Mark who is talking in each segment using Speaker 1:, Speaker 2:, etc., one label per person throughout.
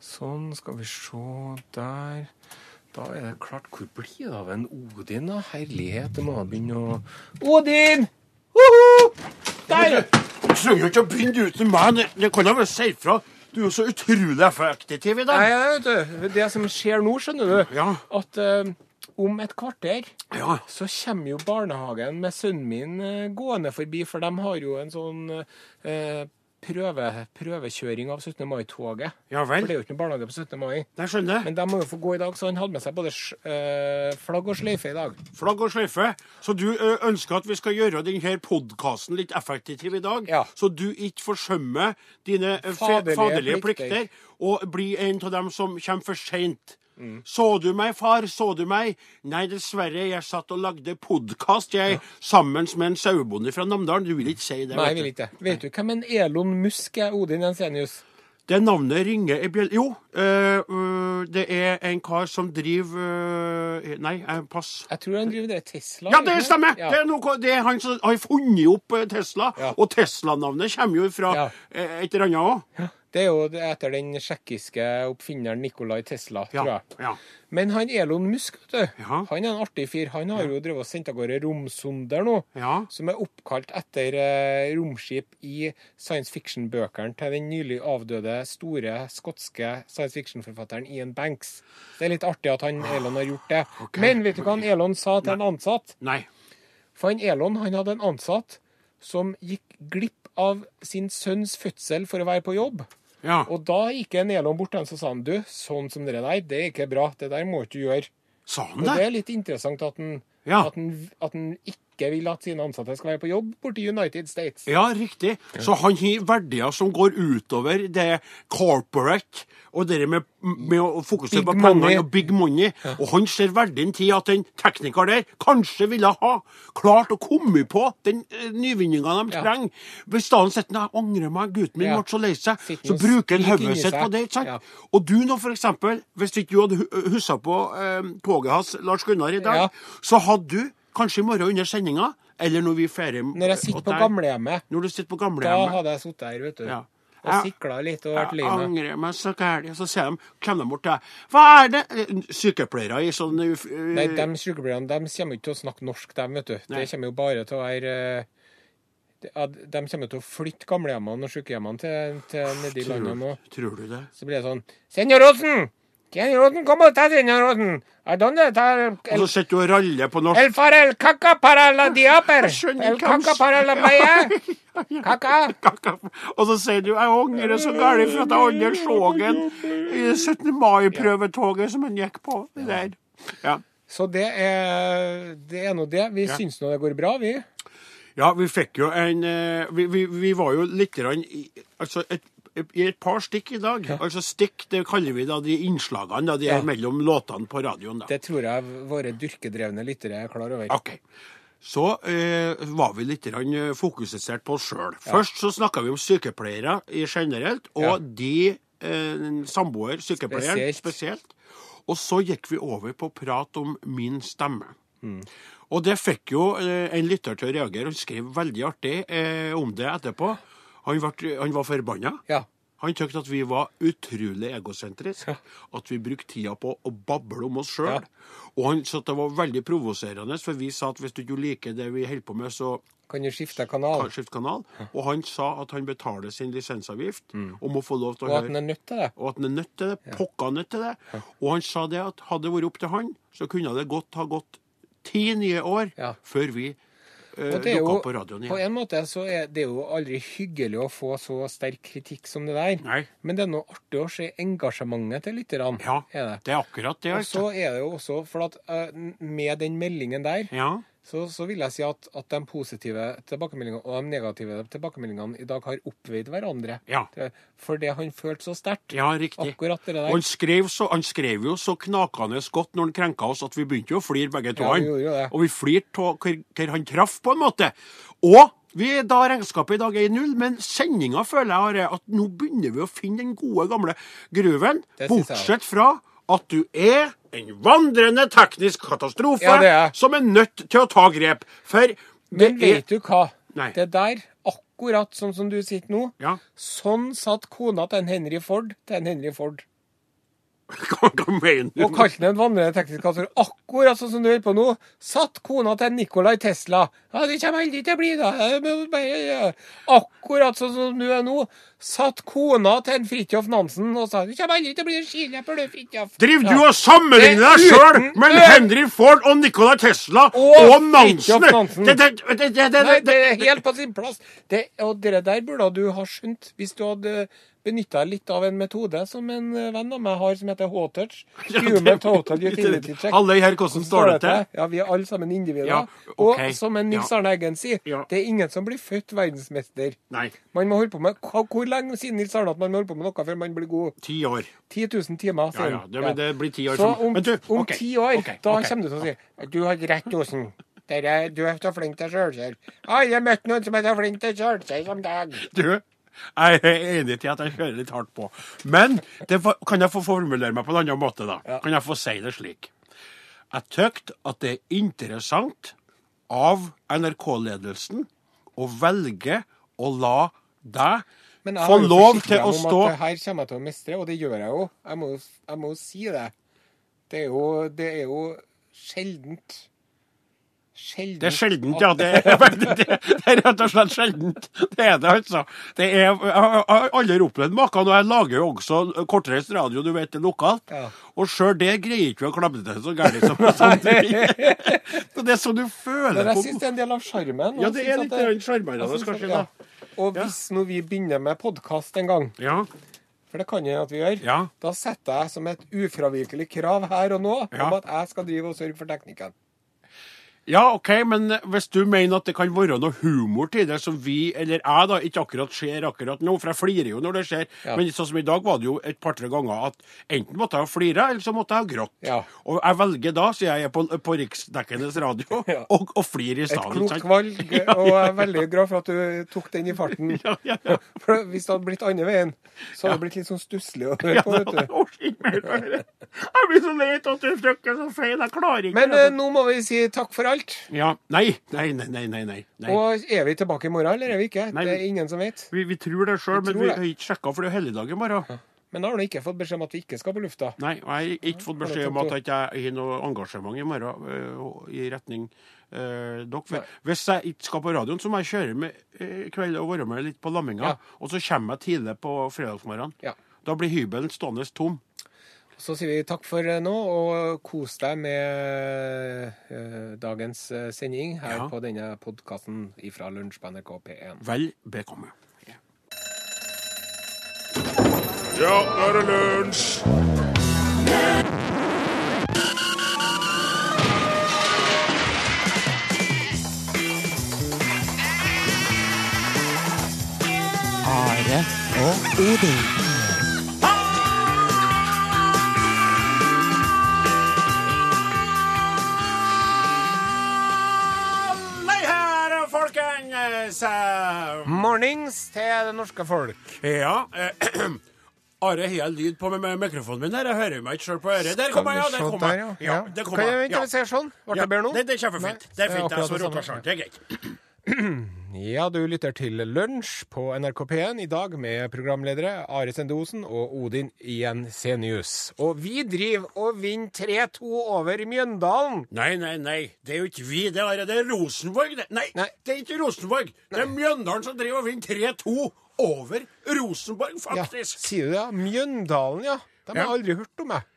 Speaker 1: Sånn, skal vi se der. Da er det klart. Hvor blir det av en Odin, da? Herlighet, det må da begynne å Odin! Hoho! Der!
Speaker 2: Du trenger jo ikke å begynne uten meg. Det, det kan jeg vel si ifra. Du er jo så utrolig effektiv i
Speaker 1: Nei,
Speaker 2: dag.
Speaker 1: ja, vet du, det som skjer nå, skjønner du,
Speaker 2: Ja.
Speaker 1: at eh, om et kvarter
Speaker 2: Ja.
Speaker 1: så kommer jo barnehagen med sønnen min eh, gående forbi, for de har jo en sånn eh, prøve, prøvekjøring av 17. mai-toget.
Speaker 2: Ja
Speaker 1: For det
Speaker 2: vel.
Speaker 1: er jo ikke noen barnehage på 17. mai.
Speaker 2: Det skjønner jeg.
Speaker 1: Men de må jo få gå i dag, så han hadde med seg både sj- eh, flagg og sløyfe i dag.
Speaker 2: Flagg og sløyfe. Så du ø, ønsker at vi skal gjøre denne podkasten litt effektiv i dag,
Speaker 1: Ja.
Speaker 2: så du ikke forsømmer dine ø, fe-
Speaker 1: Faderlige
Speaker 2: faderlige
Speaker 1: plikter.
Speaker 2: plikter og blir en av dem som kommer for seint.
Speaker 1: Mm.
Speaker 2: Så du meg, far? Så du meg? Nei, dessverre. Jeg satt og lagde podkast, jeg, sammen med en sauebonde fra Namdalen. Du vil ikke si det?
Speaker 1: Nei,
Speaker 2: vet
Speaker 1: jeg
Speaker 2: du.
Speaker 1: vil ikke det. Vet du hvem en Elon Musk er, Odin Jensenius?
Speaker 2: Det navnet ringer i bjell... Jo, øh, øh, det er en kar som driver øh, Nei, eh, pass.
Speaker 1: Jeg tror han driver det Tesla.
Speaker 2: Ja,
Speaker 1: ikke
Speaker 2: det stemmer!
Speaker 1: Ja.
Speaker 2: Det, er noe, det er han som har funnet opp eh, Tesla.
Speaker 1: Ja.
Speaker 2: Og Tesla-navnet kommer jo fra
Speaker 1: Ja.
Speaker 2: eh, et eller annet òg.
Speaker 1: Det er jo etter den tsjekkiske oppfinneren Nikolai Tesla, tror
Speaker 2: Ja.
Speaker 1: jeg.
Speaker 2: Ja.
Speaker 1: Men han Elon Musk, vet du,
Speaker 2: Ja.
Speaker 1: han er en artig fyr. Han har jo drevet og sendt av gårde romsonder nå,
Speaker 2: ja.
Speaker 1: som er oppkalt etter eh, romskip i science fiction-bøkene til den nylig avdøde store skotske science fiction-forfatteren Ian Banks. Det er litt artig at han Elon har gjort det.
Speaker 2: Ok.
Speaker 1: Men vet du hva han Elon sa til en ansatt?
Speaker 2: Nei.
Speaker 1: For han Elon han hadde en ansatt som gikk glipp av sin sønns fødsel for å være på jobb.
Speaker 2: Ja.
Speaker 1: Og da gikk en Elon bort til ham og sa han, du, sånn som det der, det er ikke bra. Det der må ikke du gjøre.
Speaker 2: Sa
Speaker 1: Og
Speaker 2: han
Speaker 1: det
Speaker 2: det?
Speaker 1: er litt interessant at han,
Speaker 2: Ja.
Speaker 1: at, han, at han ikke vil at sine ansatte skal være på jobb borti United States.
Speaker 2: Ja, riktig. Så han har verdier som går utover det corporate og det med, med å fokusere
Speaker 1: Big
Speaker 2: på pengene
Speaker 1: money.
Speaker 2: og big money. Og han ser verdien til at en tekniker der kanskje ville ha klart å komme på den eh, nyvinninga de
Speaker 1: Ja.
Speaker 2: trenger. Hvis stedet sitter han og angrer meg, gutten min
Speaker 1: Ja.
Speaker 2: ble så lei seg,
Speaker 1: Sitter
Speaker 2: så
Speaker 1: og
Speaker 2: bruker han
Speaker 1: skriker
Speaker 2: hodet
Speaker 1: inni
Speaker 2: sitt på
Speaker 1: seg.
Speaker 2: det. ikke sant?
Speaker 1: Ja.
Speaker 2: Og du nå, for eksempel, hvis ikke du hadde hu- huska på eh, toget hans, Lars Gunnar, i dag,
Speaker 1: Ja.
Speaker 2: så hadde du kanskje i morgen under sendinga, eller når vi feirer
Speaker 1: Når jeg sitter på
Speaker 2: at der-
Speaker 1: gamlehjemmet,
Speaker 2: når du sitter på
Speaker 1: da
Speaker 2: gamlehjemmet.
Speaker 1: hadde jeg sittet her, vet du.
Speaker 2: Ja.
Speaker 1: Og sikla litt og vært
Speaker 2: Jeg
Speaker 1: lei meg.
Speaker 2: angrer meg så gærent. Så ser de, kommer de bort til deg. Hva er det? Sykepleiere i sånn uh,
Speaker 1: Nei, de sykepleierne de kommer ikke til å snakke norsk, de, vet du. Det
Speaker 2: Nei.
Speaker 1: kommer jo bare til å være eh, det- at De kommer til å flytte gamlehjemmene og sykehjemmene til, til nedi landet nå.
Speaker 2: Tror du det?
Speaker 1: Så blir det sånn Senor Rosen! Senor Rosen, kom og ta Senor Rosen! Er donde tar
Speaker 2: Og
Speaker 1: el,
Speaker 2: så sitter du og raller på norsk.
Speaker 1: el farel caca para la diaper!
Speaker 2: Jeg skjønner
Speaker 1: El
Speaker 2: ikke hva han
Speaker 1: caca para la baya! Caca!
Speaker 2: Og så sier du 'jeg angrer så gærent for at jeg aldri så han i det 17. mai-prøvetoget som han gikk på'. Det der. Ja.
Speaker 1: Så det er, det er nå det. Vi syns nå det går bra, vi.
Speaker 2: Ja, vi fikk jo en eh, Vi, vi, vi var jo litt grann i, altså et, i et par stikk i dag. Altså stikk, det kaller vi da de innslagene. da, De
Speaker 1: Ja.
Speaker 2: er mellom låtene på radioen. da.
Speaker 1: Det tror jeg våre dyrkedrevne lyttere er klar over.
Speaker 2: OK. Så eh, var vi litt grann, eh, fokusert på oss sjøl. Først så snakka vi om sykepleiere i generelt, og
Speaker 1: Ja.
Speaker 2: de eh, samboer, sykepleieren
Speaker 1: Spesielt.
Speaker 2: spesielt. Og så gikk vi over på prat om min stemme.
Speaker 1: Mm.
Speaker 2: Og det fikk jo eh, en lytter til å reagere. Han skrev veldig artig eh, om det etterpå. Han, ble, han var forbanna.
Speaker 1: Ja.
Speaker 2: Han tykte at vi var utrolig egosentriske. At vi brukte tida på å bable om oss sjøl.
Speaker 1: Ja.
Speaker 2: Og han sa at det var veldig provoserende, for vi sa at hvis du ikke liker det vi holder på med, så
Speaker 1: Kan du skifte kanal?
Speaker 2: skift kanal. Og han sa at han betaler sin lisensavgift og må få lov til
Speaker 1: Mm.
Speaker 2: å
Speaker 1: Og at
Speaker 2: høre
Speaker 1: den er nødt til det?
Speaker 2: og at han er nødt til det. Pokka nødt til det. Og han sa det at hadde det vært opp til han, så kunne det godt ha gått ti nye år
Speaker 1: Ja.
Speaker 2: før vi eh,
Speaker 1: Og det er
Speaker 2: dukka
Speaker 1: jo,
Speaker 2: opp på radioen
Speaker 1: på
Speaker 2: igjen.
Speaker 1: en måte så er det jo aldri hyggelig å få så sterk kritikk som det der.
Speaker 2: Nei.
Speaker 1: Men det er noe artig å se engasjementet til lytterne.
Speaker 2: Ja,
Speaker 1: er det.
Speaker 2: det er akkurat det.
Speaker 1: Og så
Speaker 2: Altså.
Speaker 1: er det jo også, for at eh, med den meldingen der,
Speaker 2: Ja.
Speaker 1: så, så vil jeg si at, at de positive tilbakemeldingene og de negative tilbakemeldingene i dag har oppveid hverandre.
Speaker 2: Ja.
Speaker 1: Det- For det han følte så sterkt.
Speaker 2: ja, riktig.
Speaker 1: Akkurat det der.
Speaker 2: Og han skrev, så, han skrev jo så knakende godt når han krenka oss, at vi begynte jo å flire begge to.
Speaker 1: Ja, vi
Speaker 2: han.
Speaker 1: gjorde jo det.
Speaker 2: og vi flirte av hvor, hvor han traff, på en måte. Og vi er da regnskapet i dag er i null, men sendinga føler jeg Are, at nå begynner vi å finne den gode, gamle gruven.
Speaker 1: Det synes jeg
Speaker 2: Bortsett fra at du er en vandrende teknisk katastrofe
Speaker 1: Ja, det er jeg.
Speaker 2: som er nødt til å ta grep. For det
Speaker 1: Men vet
Speaker 2: er
Speaker 1: du hva?
Speaker 2: Nei.
Speaker 1: Det der, akkurat sånn som du sitter nå,
Speaker 2: Ja.
Speaker 1: sånn satt kona til en Henry Ford til en Henry Ford.
Speaker 2: Hva, hva mener du?
Speaker 1: Og kalte den vandrende tekniskator akkurat sånn som du holder på nå. Satt kona til Nikolai Tesla. Ja, det kommer aldri til å bli da. Jeg må bare- Akkurat sånn som du er nå. Satt kona til en Fridtjof Nansen og sa det kommer aldri til å bli en skiløper, du, Fridtjof.
Speaker 2: Driver du
Speaker 1: Ja.
Speaker 2: og sammenligner deg
Speaker 1: Det er
Speaker 2: sjøl
Speaker 1: uten-
Speaker 2: med Henry Ford og Nikola Tesla og,
Speaker 1: Og
Speaker 2: Nansen?
Speaker 1: Fridtjof Nansen.
Speaker 2: Det, det, det, det, det,
Speaker 1: Nei, det
Speaker 2: det,
Speaker 1: er helt på sin plass. Det, og det der burde du ha skjønt hvis du hadde benytta litt av en metode som en eh, venn av meg har, som heter H-touch. Human total utility check.
Speaker 2: Alle her, hvordan står det til?
Speaker 1: Ja, vi er alle sammen individer.
Speaker 2: Ja, ok.
Speaker 1: Og som en Nils
Speaker 2: Ja.
Speaker 1: Arne Eggen sier,
Speaker 2: Ja.
Speaker 1: det er ingen som blir født verdensmester.
Speaker 2: Nei,
Speaker 1: Man må holde på med hva- Hvor lenge siden Nils Arne at man må holde på med noe før man blir god?
Speaker 2: ti år.
Speaker 1: 10 000 timer, sier
Speaker 2: Ja, ja,
Speaker 1: han.
Speaker 2: det- men det blir 10
Speaker 1: Så
Speaker 2: år som-
Speaker 1: om,
Speaker 2: Men du,
Speaker 1: om
Speaker 2: ok,
Speaker 1: 10 år,
Speaker 2: ok,
Speaker 1: da
Speaker 2: ok.
Speaker 1: kommer du til å si Du hadde rett, Osen. Dere, du er så flink til sjølkjær. Aldri møtt noen som er så flink til sjølkjær som deg.
Speaker 2: Du, jeg er enig til at jeg kjører litt hardt på. Men det var, kan jeg få formulere meg på en annen måte, da? Kan jeg få si det slik? Jeg tykt at det er interessant av NRK-ledelsen å velge å la deg
Speaker 1: Men jeg
Speaker 2: få
Speaker 1: har jo
Speaker 2: lov
Speaker 1: forsikret
Speaker 2: til
Speaker 1: meg
Speaker 2: å
Speaker 1: om
Speaker 2: stå
Speaker 1: At det her kommer jeg til å mestre, og det gjør jeg jo. Jeg må, jo- jeg må jo si det. Det er jo, det er jo sjeldent. Sjeldent.
Speaker 2: Det er sjeldent, ja. Det er, det, det er rett og slett sjeldent. Det er det, altså. Det er, jeg har aldri opplevd maken. Og jeg lager jo også kortreist radio, du vet det, lokalt.
Speaker 1: Ja.
Speaker 2: Og sjøl det greier ikke vi å klabbe til så gærent som som du Så Det er sånn du føler
Speaker 1: Men jeg
Speaker 2: på-
Speaker 1: syns det er en del av sjarmen. og
Speaker 2: Ja,
Speaker 1: jeg
Speaker 2: det
Speaker 1: synes
Speaker 2: er
Speaker 1: at
Speaker 2: litt grann sjarmerende,
Speaker 1: jeg synes at-
Speaker 2: kanskje,
Speaker 1: ja.
Speaker 2: da.
Speaker 1: Og hvis nå vi begynner med podkast en gang,
Speaker 2: Ja.
Speaker 1: for det kan hende at vi gjør,
Speaker 2: Ja.
Speaker 1: da setter jeg som et ufravikelig krav her og nå
Speaker 2: Ja.
Speaker 1: om at jeg skal drive og sørge for teknikken.
Speaker 2: Ja, OK, men eh, hvis du mener at det kan være noe humor til det som vi, eller jeg, da, ikke akkurat ser akkurat nå, for jeg flirer jo når det skjer,
Speaker 1: Ja.
Speaker 2: men sånn som i dag var det jo et par-tre ganger at enten måtte jeg ha flira, eller så måtte jeg ha grått.
Speaker 1: Ja.
Speaker 2: Og jeg velger da, siden jeg er på, på riksdekkende radio,
Speaker 1: Ja.
Speaker 2: og, og flire i
Speaker 1: Et
Speaker 2: stedet.
Speaker 1: klokt valg, og jeg er veldig glad for at du tok den i farten.
Speaker 2: Ja, ja, ja.
Speaker 1: For hvis det hadde blitt andre veien, så hadde det blitt litt sånn stusslig å høre
Speaker 2: Ja,
Speaker 1: på, vet
Speaker 2: det
Speaker 1: du.
Speaker 2: var ikke mer å gjøre. Jeg blir så lei av at du trykker så feil. Jeg klarer ikke
Speaker 1: Men eh,
Speaker 2: det.
Speaker 1: nå må vi si takk for alt.
Speaker 2: Ja. Nei, nei, nei, nei. nei, nei. nei.
Speaker 1: Og er vi tilbake i morgen, eller er vi ikke?
Speaker 2: Nei,
Speaker 1: det
Speaker 2: vi-
Speaker 1: er ingen som vet.
Speaker 2: Vi, vi tror det sjøl, men
Speaker 1: tror
Speaker 2: vi
Speaker 1: det.
Speaker 2: har ikke sjekka, for det er jo helligdag i morgen.
Speaker 1: Men da har du ikke fått beskjed om at vi ikke skal på lufta.
Speaker 2: Nei, og jeg har ikke fått beskjed om at jeg ikke har noe engasjement i morgen eh, i retning eh, dere. For Hvis jeg ikke skal på radioen, så må jeg kjøre med eh, i kveld og være med litt på lamminga.
Speaker 1: Ja.
Speaker 2: Og så kommer jeg tidlig på fredagsmorgenen.
Speaker 1: Ja.
Speaker 2: Da blir hybelen stående tom.
Speaker 1: Så sier vi takk for eh, nå, og kos deg med eh, dagens eh, sending her
Speaker 2: Ja.
Speaker 1: på denne podkasten fra Lunsj på NRK P1.
Speaker 2: Vel bekomme.
Speaker 3: Ja, nå er det lunsj!
Speaker 4: Are og Odin.
Speaker 2: Nei, herre folkens! eh,
Speaker 1: Mornings til det norske folk.
Speaker 2: Ja. eh, Are, har jeg lyd på med, med mikrofonen min? her? Jeg hører meg ikke sjøl på øret. Der kommer jeg! ja, Der kommer jeg. Ja, der kommer
Speaker 1: Kan jeg
Speaker 2: jeg.
Speaker 1: vente
Speaker 2: Ja.
Speaker 1: og se sånn? Ble
Speaker 2: Ja,
Speaker 1: det bedre nå?
Speaker 2: Det, det er kjempefint.
Speaker 1: Nei,
Speaker 2: Det er fint.
Speaker 1: akkurat
Speaker 2: Jeg så
Speaker 1: det samme.
Speaker 2: rotasjon. Det er greit.
Speaker 1: Ja, du lytter til Lunsj på NRK P1 i dag med programledere Are Sende Osen og Odin Jensenius. Og vi driver og vinner 3-2 over Mjøndalen!
Speaker 2: Nei, nei, nei. Det er jo ikke vi. Det er, det er Rosenborg. Det. Nei,
Speaker 1: Nei.
Speaker 2: det er ikke Rosenborg. Det er Mjøndalen som driver og vinner 3-2 over Rosenborg,
Speaker 1: Ja,
Speaker 2: faktisk.
Speaker 1: sier du det? ja? Mjøndalen, ja. De har
Speaker 2: Ja.
Speaker 1: jeg aldri hørt om, jeg.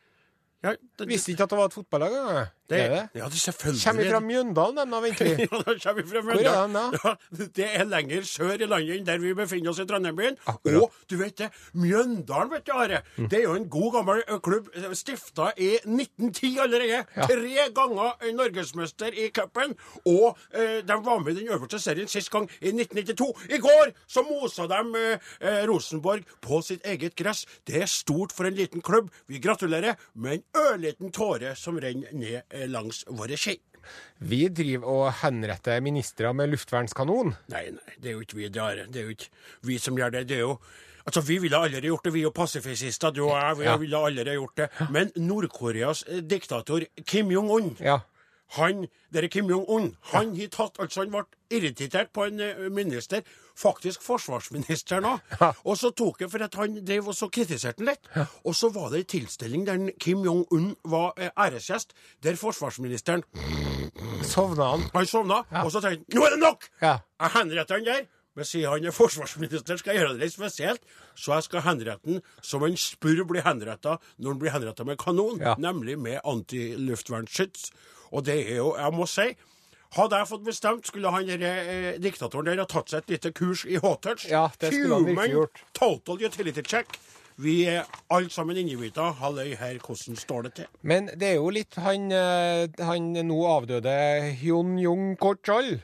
Speaker 2: Ja, det,
Speaker 1: Visste ikke at det var et fotballag engang.
Speaker 2: det,
Speaker 1: Er det?
Speaker 2: ja, det er selvfølgelig.
Speaker 1: Kommer vi fra Mjøndalen, dem, da, venter vi?
Speaker 2: Ja, da kommer vi fra
Speaker 1: er
Speaker 2: Mjøndalen.
Speaker 1: den
Speaker 2: Ja, det er lenger sør i landet enn der vi befinner oss i Trondheimbyen.
Speaker 1: Akkurat. Mm.
Speaker 2: Og du vet det, Mjøndalen, vet du, Are. Det er jo en god gammel ø, klubb. Stifta i 1910 allerede. Tre ganger eh, norgesmester i cupen. Og eh, de var med i den øverste serien sist gang i 1992. I går så mosa de eh, eh, Rosenborg på sitt eget gress. Det er stort for en liten klubb. Vi gratulerer med en ørliten tåre som renner ned eh, langs våre skinn.
Speaker 1: Vi driver og henretter ministre med luftvernskanon.
Speaker 2: Nei, nei, det er jo ikke vi, det er, det er jo ikke vi som gjør det. det er jo... Altså, Vi ville aldri gjort det, vi er jo pasifister, du og jeg. vi ville aldri gjort det. Men Nord-Koreas eh, diktator Kim Jong-un
Speaker 1: Ja.
Speaker 2: Han, dere Kim Jong-un, han har tatt Altså, han ble irritert på en eh, minister, faktisk forsvarsministeren òg. Og så tok jeg for at han drev og så kritiserte han litt. Og så var det ei tilstelning der Kim Jong-un var eh, æresgjest, der forsvarsministeren
Speaker 5: Sovna han?
Speaker 2: Han sovna, og så tenkte han Nå er det nok!
Speaker 5: Ja.
Speaker 2: Jeg henretter han der. Men siden han er forsvarsminister, skal jeg gjøre det litt spesielt. Så jeg skal henrette han som en spurv blir henretta når han blir henretta med kanon,
Speaker 5: Ja.
Speaker 2: nemlig med antiluftvernsskyts. Og det er jo Jeg må si hadde jeg fått bestemt, skulle han der, eh, diktatoren der ha tatt seg et lite kurs i hot-touch.
Speaker 1: Ja, det skulle han virkelig
Speaker 2: Human
Speaker 1: gjort.
Speaker 2: Total utility check. Vi er alle sammen innebita. Halløy her, hvordan står det til?
Speaker 1: Men det er jo litt han, eh, han nå avdøde Hyun Jung Korchol.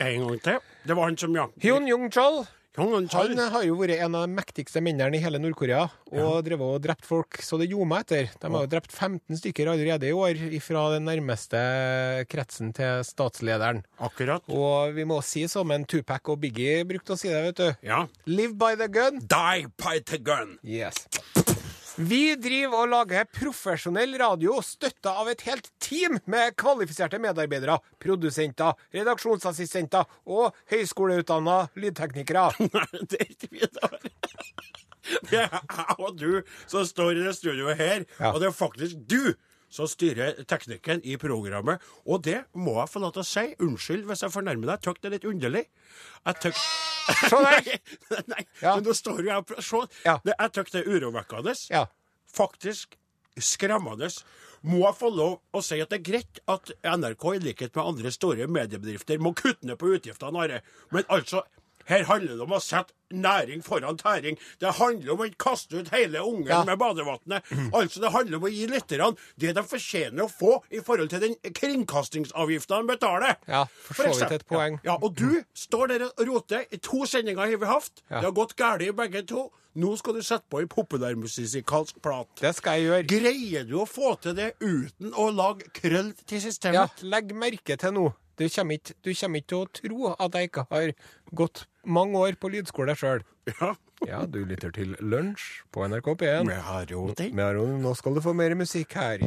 Speaker 2: En gang til. Det var han som, ja.
Speaker 1: Hyun Jung Chol.
Speaker 2: Hyun
Speaker 1: Han eh, har jo vært en av de mektigste mennene i hele Nord-Korea, og drevet og drept folk så det gjorde meg etter. De har jo drept 15 stykker allerede i år, fra den nærmeste kretsen til statslederen.
Speaker 2: Akkurat.
Speaker 1: Og vi må si som en Tupac og Biggie brukte å si det, vet du.
Speaker 2: Ja.
Speaker 1: Live by the gun.
Speaker 2: Die by the gun.
Speaker 1: Yes. Vi driver og lager profesjonell radio støtta av et helt team med kvalifiserte medarbeidere, produsenter, redaksjonsassistenter og høyskoleutdanna lydteknikere.
Speaker 2: det er ikke mye dårlig. Det er jeg og du som står i det studioet her,
Speaker 1: Ja.
Speaker 2: og det er faktisk du som styrer teknikken i programmet. Og det må jeg få lov til å si. Unnskyld hvis jeg fornærmer deg. Jeg tykker det er litt underlig. Jeg tykker
Speaker 1: Se der!
Speaker 2: Nei, nei.
Speaker 1: Ja.
Speaker 2: men nå står jo jeg og pr- Se,
Speaker 1: Ja.
Speaker 2: det, jeg tykker det er urovekkende.
Speaker 1: Ja.
Speaker 2: Faktisk skremmende. Må jeg få lov å si at det er greit at NRK, i likhet med andre store mediebedrifter, må kutte ned på utgiftene, Are. Men altså, her handler det om å sette næring foran tæring. Det handler om å ikke kaste ut hele ungen
Speaker 1: Ja.
Speaker 2: med badevannet. Altså, det handler om å gi lytterne det de fortjener å få i forhold til den kringkastingsavgifta de betaler.
Speaker 1: Ja, for så vidt et
Speaker 2: eksempel-
Speaker 1: poeng.
Speaker 2: Ja, og du står der og roter. I to sendinger har vi hatt. Det har gått galt i begge to. Nå skal du sette på en populærmusikalsk plat.
Speaker 1: Det skal jeg gjøre.
Speaker 2: Greier du å få til det uten å lage krøll til
Speaker 1: Ja,
Speaker 2: systemet?
Speaker 1: legg merke til nå. Du kommer ikke du kommer ikke til å tro at jeg ikke har gått mange år på lydskole sjøl.
Speaker 2: Ja.
Speaker 1: Ja, du lytter til Lunsj på NRK P1.
Speaker 2: Men jeg har jo den
Speaker 1: Men Aron, nå skal du få mer musikk her.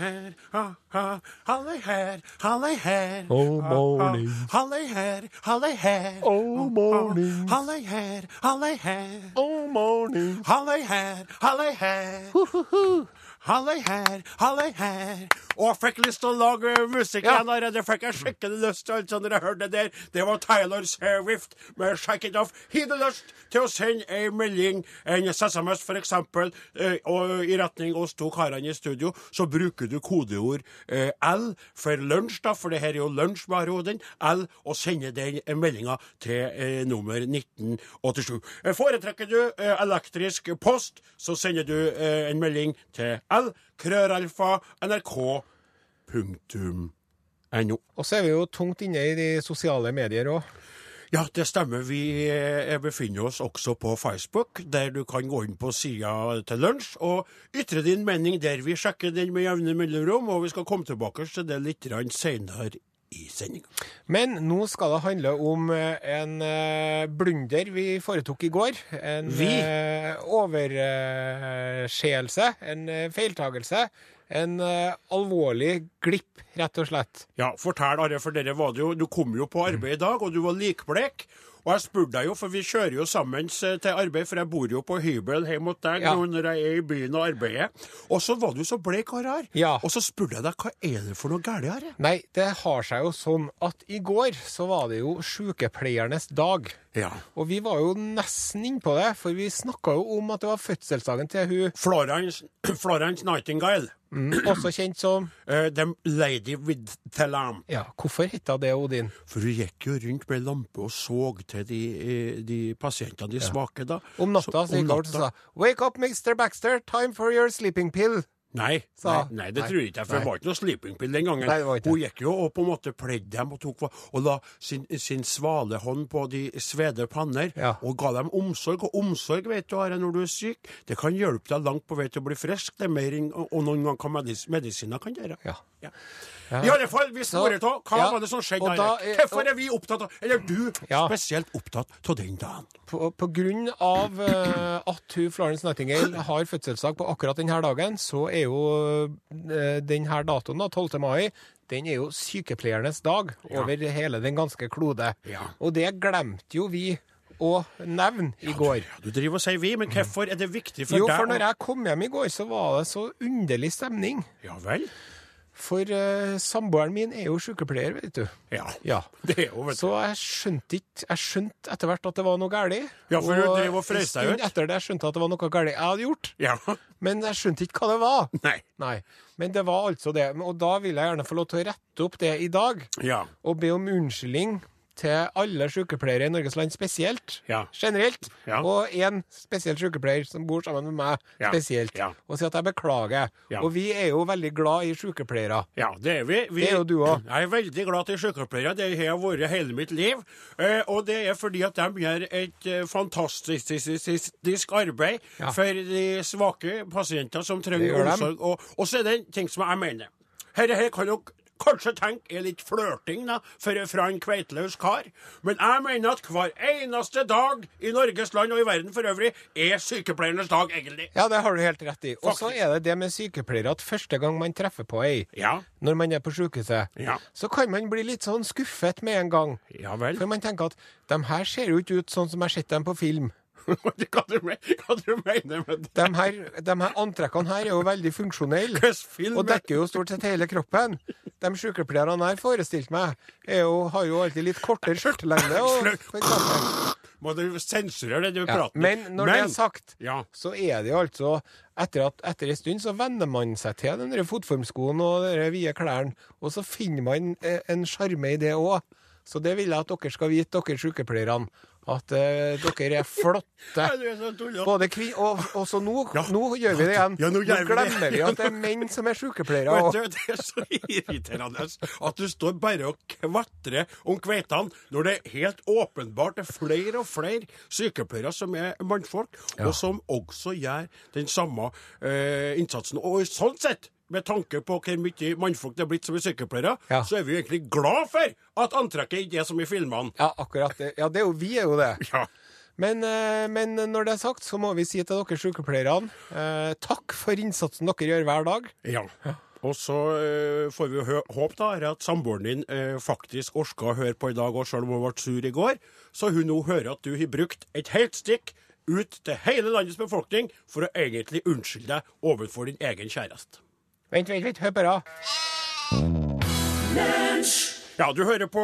Speaker 2: her, ha, ha, halløy her, halløy her.
Speaker 5: Oh,
Speaker 2: Ha, ha,
Speaker 5: morning.
Speaker 2: Halløy her, halløy her.
Speaker 5: Oh,
Speaker 2: Ha, ha,
Speaker 5: morning.
Speaker 2: Halløy her, halløy her.
Speaker 5: Oh, morning.
Speaker 2: Halløy her, halløy her. Halløy her, halløy her. Å, jeg fikk lyst til å lage musikk igjen allerede. Fikk jeg skikkelig lyst til altså, når jeg hørte det der. Det var Tyler Swift med 'Shake It Off'. Har du lyst til å sende ei melding, en SMS for eksempel, eh, og, i retning oss to karene i studio, så bruker du kodeord eh, L for lunsj, da, for det her er jo lunsj med Aroden. L, og sender den meldinga til eh, nummer 1987. Eh, Foretrekker du eh, elektrisk post, så sender du eh, en melding til L, krøralfa, nrk, punktum, no.
Speaker 1: Og så er vi jo tungt inne i de sosiale medier òg.
Speaker 2: Ja, det stemmer. Vi eh, befinner oss også på Facebook, der du kan gå inn på sida til lunsj og ytre din mening der. Vi sjekker den med jevne mellomrom, og vi skal komme tilbake til det litt seinere i sendinga.
Speaker 1: Men nå skal det handle om eh, en eh, blunder vi foretok i går. En
Speaker 2: Vi?
Speaker 1: overskjeelse. En eh, feiltagelse. En eh, alvorlig glipp, rett og slett.
Speaker 2: Ja, fortell, Are, for dere var det jo, du kom jo på arbeid i dag, og du var likblek. Og jeg spurte deg jo, for vi kjører jo sammen eh, til arbeid, for jeg bor jo på hybel hjemme hos deg
Speaker 1: Ja.
Speaker 2: nå når jeg er i byen og arbeider. Og så var du så blek og rar.
Speaker 1: Ja.
Speaker 2: Og så spurte jeg deg, hva er det for noe galt, Are?
Speaker 1: Nei, det har seg jo sånn at i går så var det jo sykepleiernes dag.
Speaker 2: Ja.
Speaker 1: Og vi var jo nesten innpå det, for vi snakka jo om at det var fødselsdagen til hun
Speaker 2: Florence, Florence Nightingale. Mm.
Speaker 1: også kjent som
Speaker 2: Eh, the Lady with the Lamp.
Speaker 1: Ja, hvorfor heter det Odin?
Speaker 2: For hun gikk jo rundt med lampe og så til de, eh, de pasientene, de svake, da.
Speaker 1: Om natta så
Speaker 2: om
Speaker 1: gikk hun bort og
Speaker 2: natta-
Speaker 1: sa Wake up, Mr. Baxter, time for your sleeping pill.
Speaker 2: Nei,
Speaker 1: sa-
Speaker 2: nei, nei, det
Speaker 1: Nei.
Speaker 2: tror jeg ikke. For det var ikke noe sleepingpill den gangen.
Speaker 1: Nei, det var ikke.
Speaker 2: Hun gikk jo og på en måte pledde dem og, tok, og la sin, sin svale hånd på de svede panner
Speaker 1: Ja.
Speaker 2: og ga dem omsorg. Og omsorg, vet du, Are, når du er syk, det kan hjelpe deg langt på vei til å bli frisk. Det er mer enn og noen gang kan medis, medisiner kan gjøre.
Speaker 1: Ja.
Speaker 2: I alle fall, vi sporer av. Hva
Speaker 1: ja.
Speaker 2: var det som skjedde
Speaker 1: Og
Speaker 2: der?
Speaker 1: da, eh, og-
Speaker 2: Hvorfor er vi opptatt av Eller du,
Speaker 1: Ja.
Speaker 2: spesielt opptatt av den dagen?
Speaker 1: På, på grunn av eh, at hun, Florence Nightingale har fødselsdag på akkurat denne dagen, så er jo eh, denne datoen, da, 12. mai, den er jo sykepleiernes dag over hele den ganske klode.
Speaker 2: Ja.
Speaker 1: Og det glemte jo vi å nevne i går.
Speaker 2: Ja, du driver og sier vi, men hvorfor er det viktig for
Speaker 1: Jo,
Speaker 2: deg?
Speaker 1: for når
Speaker 2: å-
Speaker 1: jeg kom hjem i går, så var det så underlig stemning.
Speaker 2: Ja vel?
Speaker 1: For eh, samboeren min er jo sykepleier, vet du.
Speaker 2: Ja.
Speaker 1: Ja.
Speaker 2: Det er jo vet du.
Speaker 1: Så jeg skjønte ikke Jeg skjønte etter hvert at det var noe galt.
Speaker 2: Ja, for du drev og frøs deg ut.
Speaker 1: etter det jeg skjønte at det var noe galt jeg hadde gjort.
Speaker 2: Ja.
Speaker 1: Men jeg skjønte ikke hva det var.
Speaker 2: Nei.
Speaker 1: Nei. Men det var altså det. Og da vil jeg gjerne få lov til å rette opp det i dag,
Speaker 2: Ja.
Speaker 1: og be om unnskyldning til alle sykepleiere i Norges land spesielt.
Speaker 2: Ja.
Speaker 1: Generelt.
Speaker 2: Ja.
Speaker 1: Og én spesiell sykepleier som bor sammen med meg
Speaker 2: Ja.
Speaker 1: spesielt.
Speaker 2: Ja.
Speaker 1: Og si at jeg beklager.
Speaker 2: Ja.
Speaker 1: Og vi er jo veldig glad i sykepleiere.
Speaker 2: Ja, det er vi. vi
Speaker 1: Det er jo du også.
Speaker 2: Jeg er veldig glad til sykepleiere. Det har jeg vært hele mitt liv. Eh, og det er fordi at de gjør et eh, fantastisk arbeid
Speaker 1: Ja.
Speaker 2: for de svake pasienter som
Speaker 1: Det
Speaker 2: trenger
Speaker 1: gjør de.
Speaker 2: omsorg. Og, og så er det en ting som jeg mener. Herre her kan dere kanskje tenke er litt flørting da, for, fra en kveiteløs kar, men jeg mener at hver eneste dag i Norges land og i verden for øvrig er sykepleiernes dag, egentlig.
Speaker 1: Ja, det har du helt rett i. Og så
Speaker 2: Faktisk.
Speaker 1: er det det med sykepleiere at første gang man treffer på ei
Speaker 2: Ja.
Speaker 1: når man er på sykehuset,
Speaker 2: Ja.
Speaker 1: så kan man bli litt sånn skuffet med en gang.
Speaker 2: Ja vel.
Speaker 1: For man tenker at de her ser jo ikke ut sånn som jeg har sett dem på film.
Speaker 2: Hva du men- hva du mener du med det?
Speaker 1: De her, de her antrekkene her er jo veldig funksjonelle.
Speaker 2: Hvilken film
Speaker 1: Og dekker jo stort sett hele kroppen. De sykepleierne her forestilte meg, er jo, har jo alltid litt kortere skjørtelengde. og- for eksempel.
Speaker 2: Må du sensurere det du
Speaker 1: Ja.
Speaker 2: prater
Speaker 1: Men når det er sagt,
Speaker 2: Ja.
Speaker 1: så er det jo altså Etter, at, etter en stund så venner man seg til den der fotformskoen og de der vide klærne, og så finner man eh, en sjarme i det òg. Så det vil jeg at dere skal vite, dere sykepleierne, at eh, dere er flotte.
Speaker 2: Ja, du er så tull, ja.
Speaker 1: Både kvin... Og, og så nå,
Speaker 2: Ja.
Speaker 1: nå gjør vi det igjen.
Speaker 2: Ja, nå gjør vi det.
Speaker 1: glemmer vi at det er menn som er sykepleiere.
Speaker 2: Vet
Speaker 1: Og...
Speaker 2: du, det er så irriterende at du står bare og kvatrer om kveitene når det helt åpenbart er flere og flere sykepleiere som er mannfolk, og som også gjør den samme eh, innsatsen. Og sånn sett, med tanke på hvor mye mannfolk det er blitt som er sykepleiere,
Speaker 1: Ja.
Speaker 2: så er vi jo egentlig glad for at antrekket ikke er som i filmene.
Speaker 1: Ja, akkurat. det. Ja, det er jo, vi er jo det.
Speaker 2: Ja.
Speaker 1: Men, eh, men når det er sagt, så må vi si til dere sykepleierne eh, takk for innsatsen dere gjør hver dag.
Speaker 2: Ja. Og så eh, får vi jo hø håp da, er at samboeren din eh, faktisk orka å høre på i dag òg, selv om hun ble sur i går. Så hun nå hører at du har brukt et helt stikk ut til hele landets befolkning for å egentlig unnskylde deg overfor din egen kjæreste.
Speaker 1: Vent, vent, vent, hør bare.
Speaker 2: Ja, du hører på,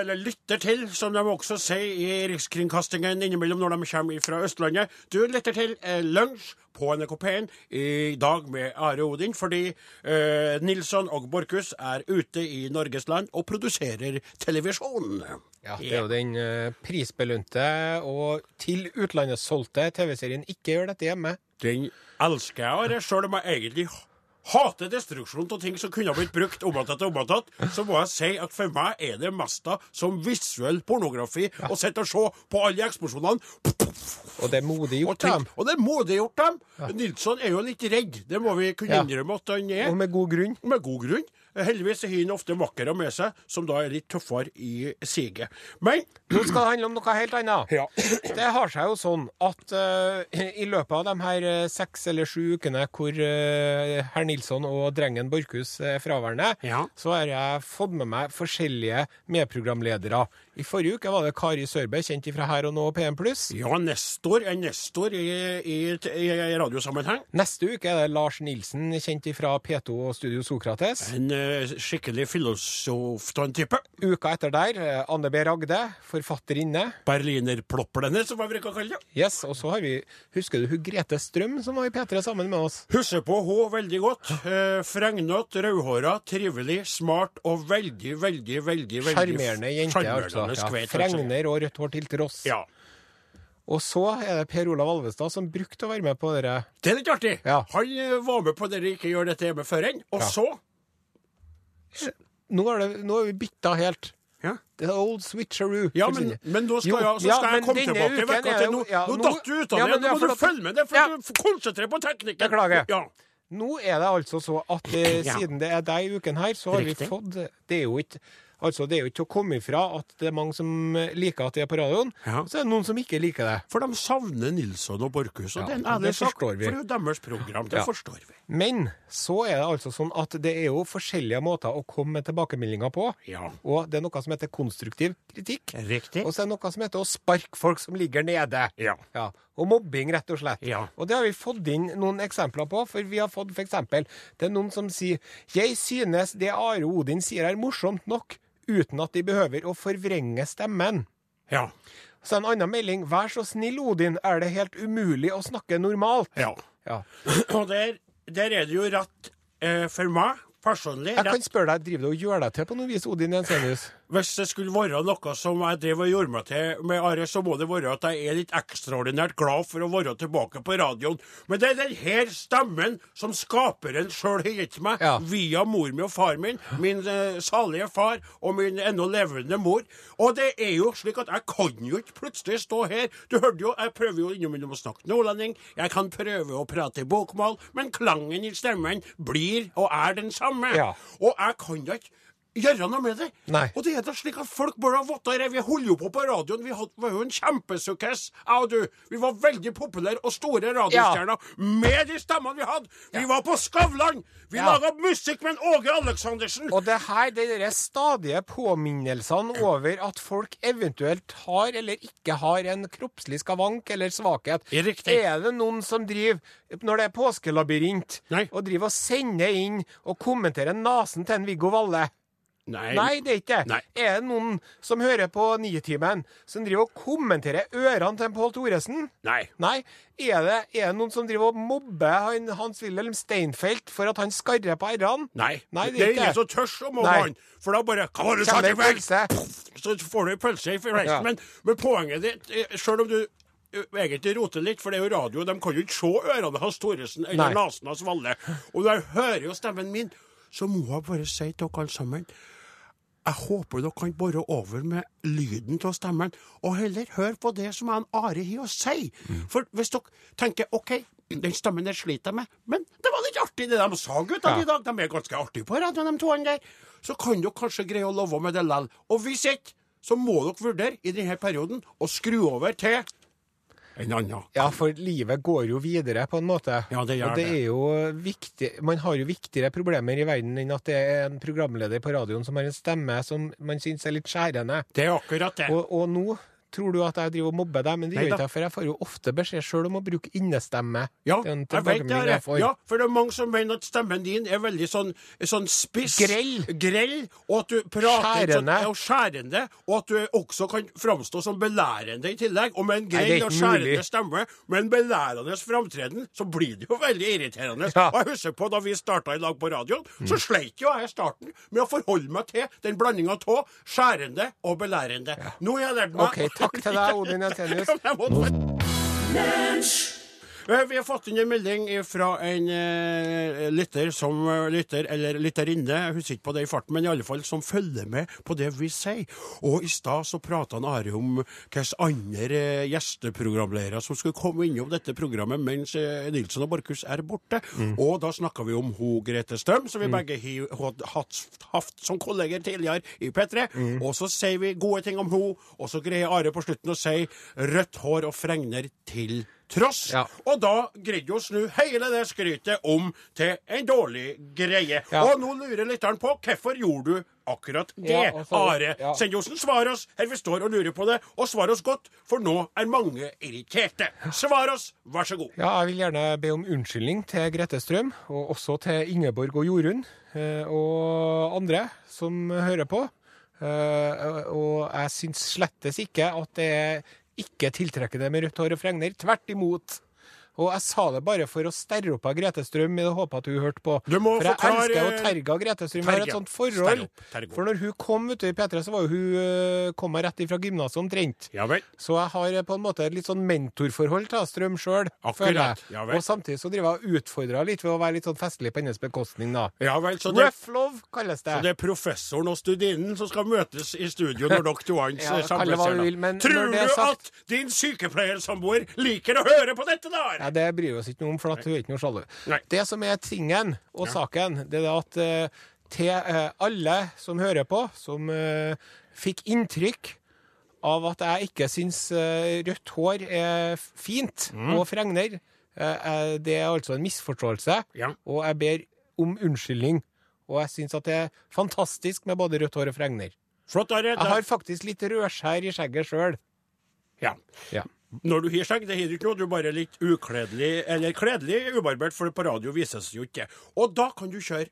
Speaker 2: eller lytter til, som de også sier i Rikskringkastingen innimellom når de kommer fra Østlandet. Du lytter til eh, Lunsj på NRK P1 i dag med Are Odin, fordi eh, Nilsson og Borchhus er ute i Norges land og produserer televisjon.
Speaker 1: Ja, det er jo den eh, prisbelønte og til utlandet solgte TV-serien Ikke gjør dette hjemme.
Speaker 2: Den elsker jeg, Are, sjøl om jeg egentlig hater destruksjon av ting som kunne ha blitt brukt om igjen og om igjen. Så må jeg si at for meg er det meste som visuell pornografi å sitte og se på alle eksplosjonene.
Speaker 1: Og det er modig
Speaker 2: Og,
Speaker 1: gjort av dem.
Speaker 2: tenk, og det er modig gjort dem. Nilsson er jo litt redd, det må vi kunne
Speaker 1: Ja.
Speaker 2: innrømme at han er.
Speaker 1: Og med god grunn.
Speaker 2: Med god grunn. Heldigvis har han ofte makkere med seg, som da er litt tøffere i siget. Men
Speaker 1: Nå skal det handle om noe helt annet.
Speaker 2: Ja.
Speaker 1: Det har seg jo sånn at eh, i løpet av de her eh, seks eller sju ukene hvor eh, herr Nilsson og drengen Borchhus er fraværende,
Speaker 2: Ja.
Speaker 1: så har jeg fått med meg forskjellige medprogramledere. I forrige uke var det Kari Sørbø, kjent ifra Her og Nå og P1
Speaker 2: ja, nestor er nestor i, i, i, i radiosammenheng.
Speaker 1: Neste uke er det Lars Nilsen, kjent ifra P2 og Studio Sokrates.
Speaker 2: En eh, skikkelig filosof av en type.
Speaker 1: Uka etter der, eh, Anne B. Ragde, forfatterinne.
Speaker 2: Berlinerploplene, som jeg bruker å kalle det.
Speaker 1: Yes, og så har vi, Husker du hun Grete Strøm som var i P3 sammen med oss?
Speaker 2: Husker på henne veldig godt. Eh, Fregnete, rødhåra, trivelig, smart og veldig, veldig, veldig veldig
Speaker 1: Sjarmerende jente. altså.
Speaker 2: sjarmerende
Speaker 1: Ja,
Speaker 2: skvett, altså.
Speaker 1: Fregner og rødt hår til tross.
Speaker 2: Ja.
Speaker 1: Og så er det Per Olav Alvestad som brukte å være med på dere.
Speaker 2: Det er litt artig.
Speaker 1: Ja.
Speaker 2: Han eh, var med på det de ikke gjør dette hjemme før enn, og
Speaker 1: Ja.
Speaker 2: så
Speaker 1: Nå er, det, nå er vi bytta helt.
Speaker 2: ja.
Speaker 1: The old switcheroo.
Speaker 2: men,
Speaker 1: forsvinner.
Speaker 2: men nå skal,
Speaker 1: Jo,
Speaker 2: jeg, så skal
Speaker 1: ja,
Speaker 2: jeg
Speaker 1: men
Speaker 2: komme
Speaker 1: denne
Speaker 2: tilbake.
Speaker 1: uken
Speaker 2: Vet du,
Speaker 1: er
Speaker 2: at
Speaker 1: jo-
Speaker 2: nå
Speaker 1: ja,
Speaker 2: nå
Speaker 1: nå-
Speaker 2: datt du ut av
Speaker 1: Ja,
Speaker 2: det.
Speaker 1: men
Speaker 2: Nå
Speaker 1: det er
Speaker 2: må du
Speaker 1: fordi at-
Speaker 2: følge med. Det er for
Speaker 1: Ja.
Speaker 2: du f- konsentrer på teknikken.
Speaker 1: Beklager.
Speaker 2: Ja.
Speaker 1: Nå er det altså så at eh,
Speaker 6: Ja.
Speaker 1: siden det er deg i uken her, så har
Speaker 6: Riktig.
Speaker 1: vi fått Det er jo ikke Altså, det er jo ikke til å komme ifra at det er mange som eh, liker at det er på radioen,
Speaker 2: Ja.
Speaker 1: og så er det noen som ikke liker det.
Speaker 2: For de savner Nilsson og Borchhus, og
Speaker 1: Ja,
Speaker 2: det er en
Speaker 1: og det
Speaker 2: ærlig sak.
Speaker 1: forstår
Speaker 2: For
Speaker 1: vi.
Speaker 2: det er jo deres program, det
Speaker 1: Ja.
Speaker 2: forstår vi.
Speaker 1: Men så er det altså sånn at det er jo forskjellige måter å komme med tilbakemeldinger på.
Speaker 2: Ja.
Speaker 1: Og det er noe som heter konstruktiv kritikk.
Speaker 6: Riktig.
Speaker 1: Og så er det noe som heter å sparke folk som ligger nede.
Speaker 2: Ja.
Speaker 1: Og mobbing, rett og slett.
Speaker 2: Ja.
Speaker 1: Og det har vi fått inn noen eksempler på, for vi har fått f.eks. Det er noen som sier 'Jeg synes det Are Odin sier er morsomt nok', uten at de behøver å forvrenge stemmen.
Speaker 2: Ja.
Speaker 1: Så en annen melding 'Vær så snill, Odin, er det helt umulig å snakke normalt'?
Speaker 2: ja.
Speaker 1: Ja.
Speaker 2: Og der, der er det jo rett eh, for meg, personlig,
Speaker 1: Jeg kan
Speaker 2: rett
Speaker 1: spørre deg, driver du og gjør deg til på noe vis, Odin Jensenius?
Speaker 2: hvis det skulle være noe som jeg drev og gjorde meg til med Are, så må det være at jeg er litt ekstraordinært glad for å være tilbake på radioen. Men det er den her stemmen som skaperen sjøl har gitt meg,
Speaker 1: Ja.
Speaker 2: via mor mi og far min, min eh, salige far og min ennå levende mor. Og det er jo slik at jeg kan jo ikke plutselig stå her. Du hørte jo, jeg prøver jo innimellom å snakke nordlending, jeg kan prøve å prate bokmål, men klangen i stemmen blir og er den samme.
Speaker 1: Ja.
Speaker 2: Og jeg kan da ikke gjøre noe med det.
Speaker 1: Nei.
Speaker 2: Og det er da slik at folk bør ha votta det. Vi holder jo på på radioen. Vi hadde- var jo en kjempesukkess, jeg og du. Vi var veldig populære og store radiostjerner med de stemmene vi hadde. Vi var på Skavlan! Vi
Speaker 1: Ja.
Speaker 2: laga musikk med en Åge Aleksandersen!
Speaker 1: Og det her, det er stadige påminnelsene over at folk eventuelt har eller ikke har en kroppslig skavank eller svakhet.
Speaker 2: Ja, riktig.
Speaker 1: Er det noen som driver, når det er påskelabyrint,
Speaker 2: Nei.
Speaker 1: og driver og sender inn og kommenterer nesen til en Viggo Valle?
Speaker 2: Nei.
Speaker 1: Nei, det er ikke det.
Speaker 2: Nei.
Speaker 1: Er det noen som hører på Nitimen, som driver og kommenterer ørene til en Pål Thoresen?
Speaker 2: Nei.
Speaker 1: Nei. Er det, er det noen som driver og mobber han, Hans-Wilhelm Steinfeld for at han skarrer på r-ene?
Speaker 2: Nei.
Speaker 1: Nei, det
Speaker 2: det
Speaker 1: er
Speaker 2: er ingen
Speaker 1: ikke
Speaker 2: som
Speaker 1: det.
Speaker 2: tør å mobbe
Speaker 1: Nei.
Speaker 2: han. For da bare Hva var det du sa
Speaker 1: Kjenner
Speaker 2: til
Speaker 1: en
Speaker 2: meg?
Speaker 1: pølse.
Speaker 2: Så får du en pølse i resten.
Speaker 1: Ja.
Speaker 2: Men, men poenget ditt, eh, sjøl om du eh, egentlig roter litt, for det er jo radio, de kan jo ikke se ørene hans Thoresen eller
Speaker 1: Nei.
Speaker 2: nesen hans Valle. Og når jeg hører jo stemmen min, så må jeg bare si til dere alle sammen jeg håper dere kan bore over med lyden av stemmen, og heller høre på det som han Are har å si. For hvis dere tenker OK, den stemmen der sliter jeg med, men det var litt artig det de sa, guttene
Speaker 1: Ja.
Speaker 2: i dag. De er ganske artige på radioen, de to andre der. Så kan dere kanskje greie å leve med det lell. Og hvis ikke, så må dere vurdere i denne perioden å skru over til en annen.
Speaker 1: Ja, for livet går jo videre, på en måte.
Speaker 2: Ja, det gjør
Speaker 1: og det
Speaker 2: det.
Speaker 1: er jo viktig Man har jo viktigere problemer i verden enn at det er en programleder på radioen som har en stemme som man syns er litt skjærende.
Speaker 2: Det er akkurat det.
Speaker 1: Og, og nå tror du at jeg driver og mobber deg, men det
Speaker 2: Nei
Speaker 1: gjør
Speaker 2: da.
Speaker 1: ikke jeg, for jeg får jo ofte beskjed sjøl om å bruke innestemme.
Speaker 2: Ja,
Speaker 1: Det er en
Speaker 2: jeg vet det.
Speaker 1: tilbakemelding
Speaker 2: Are.
Speaker 1: jeg får.
Speaker 2: Ja, for det er mange som mener at stemmen din er veldig sånn, sånn spiss.
Speaker 1: Grell.
Speaker 2: Grell, og at du prater ikke sånn,
Speaker 1: Skjærende.
Speaker 2: ja, og skjærende. Og at du også kan framstå som belærende i tillegg. Og med
Speaker 1: Nei,
Speaker 2: en
Speaker 1: det er
Speaker 2: grell og
Speaker 1: ikke
Speaker 2: skjærende
Speaker 1: mulig.
Speaker 2: stemme, med en belærende framtreden, så blir det jo veldig irriterende.
Speaker 1: Ja. Mm.
Speaker 2: Og jeg husker på da vi starta i lag på radioen, så sleit jo jeg i starten med å forholde meg til den blandinga av skjærende og belærende. Nå har jeg lært meg
Speaker 1: OK, takk til deg, Odin Jensenius.
Speaker 2: ja, men jeg måtte- Eh, Vi har fått inn en melding fra en eh, lytter som eh, lytter, eller lytterinne, jeg husker ikke på det i farten, men i alle fall som følger med på det vi sier. Og i stad så prata han Are om hvilke andre eh, gjesteprogramledere som skulle komme innom dette programmet mens eh, Nilsen og Borchhus er borte. Og da snakka vi om ho Grete Strøm, som vi begge har hatt- hatt- hatt som kolleger tidligere i P3. Og så sier vi gode ting om ho, og så greier Are på slutten å si rødt hår og fregner til tross.
Speaker 1: Ja.
Speaker 2: Og da greide hun å snu hele det skrytet om til en dårlig greie.
Speaker 1: Ja.
Speaker 2: Og nå lurer lytteren på hvorfor gjorde du akkurat det,
Speaker 1: Ja, og så-
Speaker 2: Are.
Speaker 1: ja.
Speaker 2: Sendjosen, svar oss her vi står og lurer på det, og svar oss godt, for nå er mange irriterte. Svar oss, vær så god.
Speaker 1: Ja, jeg vil gjerne be om unnskyldning til Grete Strøm, og også til Ingeborg og Jorunn, eh, og andre som hører på. Eh, Og jeg syns slettes ikke at det er ikke tiltrekkende med rødt hår og fregner. Tvert imot. Og jeg sa det bare for å sterre opp av Grete Strøm, i det håpet at hun hørte på.
Speaker 2: Du må
Speaker 1: for jeg
Speaker 2: forklare-
Speaker 1: elsker jo Terga Grete Strøm. Jeg har et
Speaker 2: Terga.
Speaker 1: sånt forhold.
Speaker 2: Sterre opp, Terga.
Speaker 1: For når hun kom ute i P3, så var jo hun eh, kom hun rett ifra gymnaset omtrent.
Speaker 2: Ja vel.
Speaker 1: Så jeg har eh, på en måte et litt sånn mentorforhold til Strøm sjøl.
Speaker 2: Akkurat, ja vel.
Speaker 1: Og samtidig så driver jeg og utfordrer litt ved å være litt sånn festlig på hennes bekostning, da.
Speaker 2: Ja vel, så det,
Speaker 1: Rough love kalles det.
Speaker 2: så det er professoren og studinen som skal møtes i studio når dere to hans
Speaker 1: Ja,
Speaker 2: eh,
Speaker 1: kall det
Speaker 2: samles
Speaker 1: hva
Speaker 2: her,
Speaker 1: du vil,
Speaker 2: da.
Speaker 1: men når
Speaker 2: Tror
Speaker 1: det er
Speaker 2: du
Speaker 1: sagt-
Speaker 2: at din sykepleiersamboer liker å høre på dette, da,
Speaker 1: Nei, det bryr vi oss ikke noe om, for at hun er ikke noe sjalu.
Speaker 2: Nei.
Speaker 1: Det som er tingen og saken, det er at eh, til eh, alle som hører på, som eh, fikk inntrykk av at jeg ikke syns eh, rødt hår er f- fint
Speaker 2: Mm.
Speaker 1: og fregner, eh, eh, det er altså en misforståelse,
Speaker 2: Ja.
Speaker 1: og jeg ber om unnskyldning. Og jeg syns at det er fantastisk med både rødt hår og fregner.
Speaker 2: Flott, Are.
Speaker 1: Jeg
Speaker 2: Da-
Speaker 1: har faktisk litt rødskjær i skjegget sjøl.
Speaker 2: Ja.
Speaker 1: Ja.
Speaker 2: Når du har skjegg, det har du ikke noe, du er bare litt ukledelig, eller kledelig ubarbert, for på radio vises det jo ikke. Og da kan du kjøre.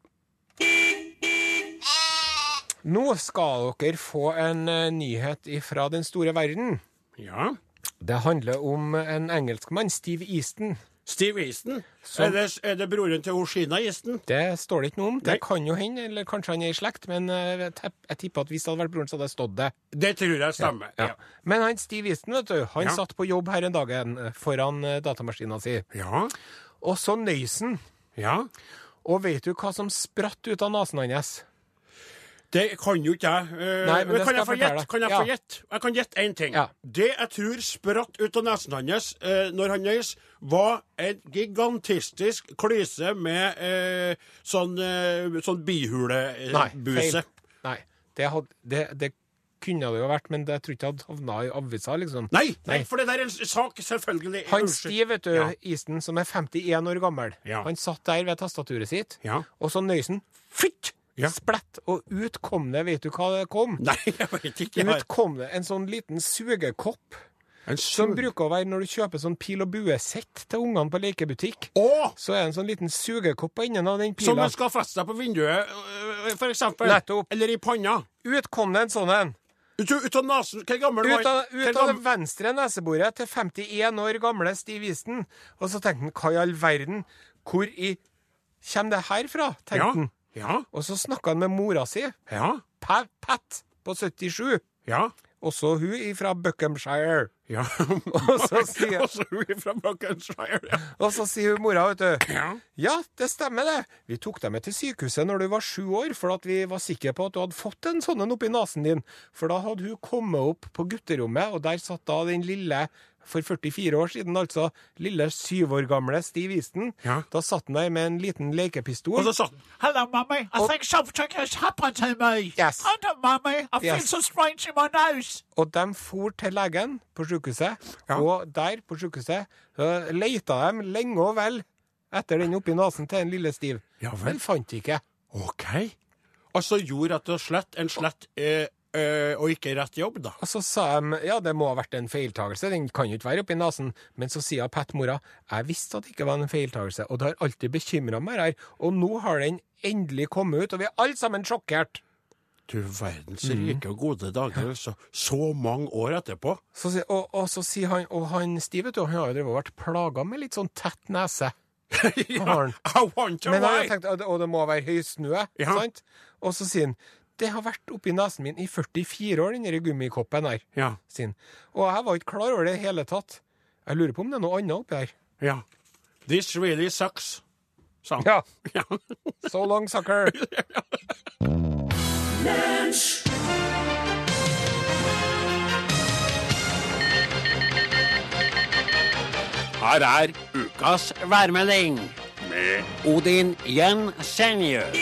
Speaker 1: Nå skal dere få en eh, nyhet fra den store verden.
Speaker 2: Ja.
Speaker 1: Det handler om en engelskmann, Steve Easton.
Speaker 2: Steve Easton.
Speaker 1: Som-
Speaker 2: Er, det, er det broren til Oshina Easton?
Speaker 1: Det står det ikke noe om. Det
Speaker 2: Nei.
Speaker 1: kan jo hende, eller kanskje han er i slekt, men eh, jeg tepp- jeg tipper at hvis det hadde vært broren, så hadde det stått det.
Speaker 2: Det tror jeg stemmer.
Speaker 1: Ja.
Speaker 2: Ja.
Speaker 1: Men han Steve Easton, vet du, han
Speaker 2: Ja.
Speaker 1: satt på jobb her en dag eh, foran eh, datamaskina si,
Speaker 2: Ja.
Speaker 1: og så nøys han.
Speaker 2: ja.
Speaker 1: Og vet du hva som spratt ut av nesen hans?
Speaker 2: Det kan jo ikke jeg. Eh,
Speaker 1: Nei, men det skal
Speaker 2: kan, jeg få
Speaker 1: jeg fortelle
Speaker 2: gjette?
Speaker 1: deg.
Speaker 2: kan jeg
Speaker 1: Ja.
Speaker 2: få gjette? Jeg kan gjette én ting.
Speaker 1: Ja.
Speaker 2: Det jeg tror spratt ut av nesen hans eh, når han nøys, var en gigantistisk klyse med eh, sånn, eh, sånn
Speaker 1: Nei,
Speaker 2: bihulebuse.
Speaker 1: feil. Nei, det, hadde, det, det kunne det jo vært, men det jeg tror ikke hadde havna i avisa, liksom.
Speaker 2: Nei, nei,
Speaker 1: Nei.
Speaker 2: for det der er en s- sak, selvfølgelig.
Speaker 1: Han
Speaker 2: Unnskyld.
Speaker 1: Steve, vet du,
Speaker 2: Ja.
Speaker 1: Easton, som er 51 år gammel,
Speaker 2: Ja.
Speaker 1: han satt der ved tastaturet sitt,
Speaker 2: Ja.
Speaker 1: og så nøys han fytt,
Speaker 2: Ja.
Speaker 1: splett, og ut kom det, vet du hva det kom?
Speaker 2: Nei, jeg vet ikke.
Speaker 1: Ut kom det en sånn liten sugekopp,
Speaker 2: En
Speaker 1: som bruker å være når du kjøper sånn pil og buesett til ungene på lekebutikk.
Speaker 2: Å!
Speaker 1: Så er det en sånn liten sugekopp på enden av den
Speaker 2: Som
Speaker 1: pila.
Speaker 2: man skal feste på vinduet, øh, for eksempel.
Speaker 1: Nettopp.
Speaker 2: Eller i panna.
Speaker 1: Ut kom det en sånn en.
Speaker 2: Ut, ut av nesen. Hvor gammel
Speaker 1: Ut av,
Speaker 2: var sånn-
Speaker 1: ut av det venstre neseboret til 51 år gamle Steve Easton. Og så tenkte han, hva i all verden? Hvor i Kjem det her fra? tenkte
Speaker 2: Ja.
Speaker 1: han.
Speaker 2: Ja.
Speaker 1: Og så snakka han med mora si,
Speaker 2: Ja.
Speaker 1: Pa- Pat, på 77.
Speaker 2: Ja.
Speaker 1: Også hun fra Buckhamshire.
Speaker 2: Ja.
Speaker 1: Og så sier-
Speaker 2: Og så er vi fra Buckinghamshire. Ja.
Speaker 1: Og så sier hun mora, vet du.
Speaker 2: Ja.
Speaker 1: Ja, det stemmer det. Vi tok deg med til sykehuset når du var sju år, for at vi var sikre på at du hadde fått en sånn en oppi nesen din. For da hadde hun kommet opp på gutterommet, og der satt da den lille, for 44 år siden altså, lille syv år gamle Steve Easton.
Speaker 2: Ja.
Speaker 1: Da satt han der med en liten lekepistol.
Speaker 2: Og så satt han.
Speaker 6: Hello, mummy. I think something has happened to me.
Speaker 1: Yes.
Speaker 6: I don't, mummy. I feel
Speaker 1: Yes.
Speaker 6: so strange in my nose.
Speaker 1: Og de for til legen på sykehuset, og der på sykehuset øh, leita de lenge og vel etter den oppi nesen til en lille Stiv.
Speaker 2: Ja vel.
Speaker 1: Men fant ikke.
Speaker 2: OK. Og så gjorde rett og slett en slett eh, eh, og ikke rett jobb, da.
Speaker 1: Og så sa de ja, det må ha vært en feiltagelse, den kan jo ikke være oppi nesen. Men så sier Pat mora jeg visste at det ikke var en feiltagelse, og det har alltid bekymra meg her, og nå har den endelig kommet ut, og vi er alle sammen sjokkert.
Speaker 2: Du verdens
Speaker 1: Mm.
Speaker 2: rike og gode dager, altså. Så mange år etterpå.
Speaker 1: Så, sier- og, og så sier han, og han Stiv, vet du, han har jo drevet og vært plaga med litt sånn tett nese. Har han.
Speaker 2: I want your
Speaker 1: Men han har
Speaker 2: life!
Speaker 1: tenkt, at- og det må være høysnø,
Speaker 2: Ja.
Speaker 1: sant? Og så sier han, det har vært oppi nesen min i 44 år, den der gummikoppen her,
Speaker 2: Ja.
Speaker 1: sier han. Og jeg var ikke klar over det i hele tatt. Jeg lurer på om det er noe annet oppi her.
Speaker 2: Ja. This really sucks, sa han.
Speaker 1: Ja,
Speaker 2: Ja.
Speaker 1: so long, sucker!
Speaker 3: Her er
Speaker 2: Ukas værmelding.
Speaker 3: med
Speaker 2: Odin Jensenius.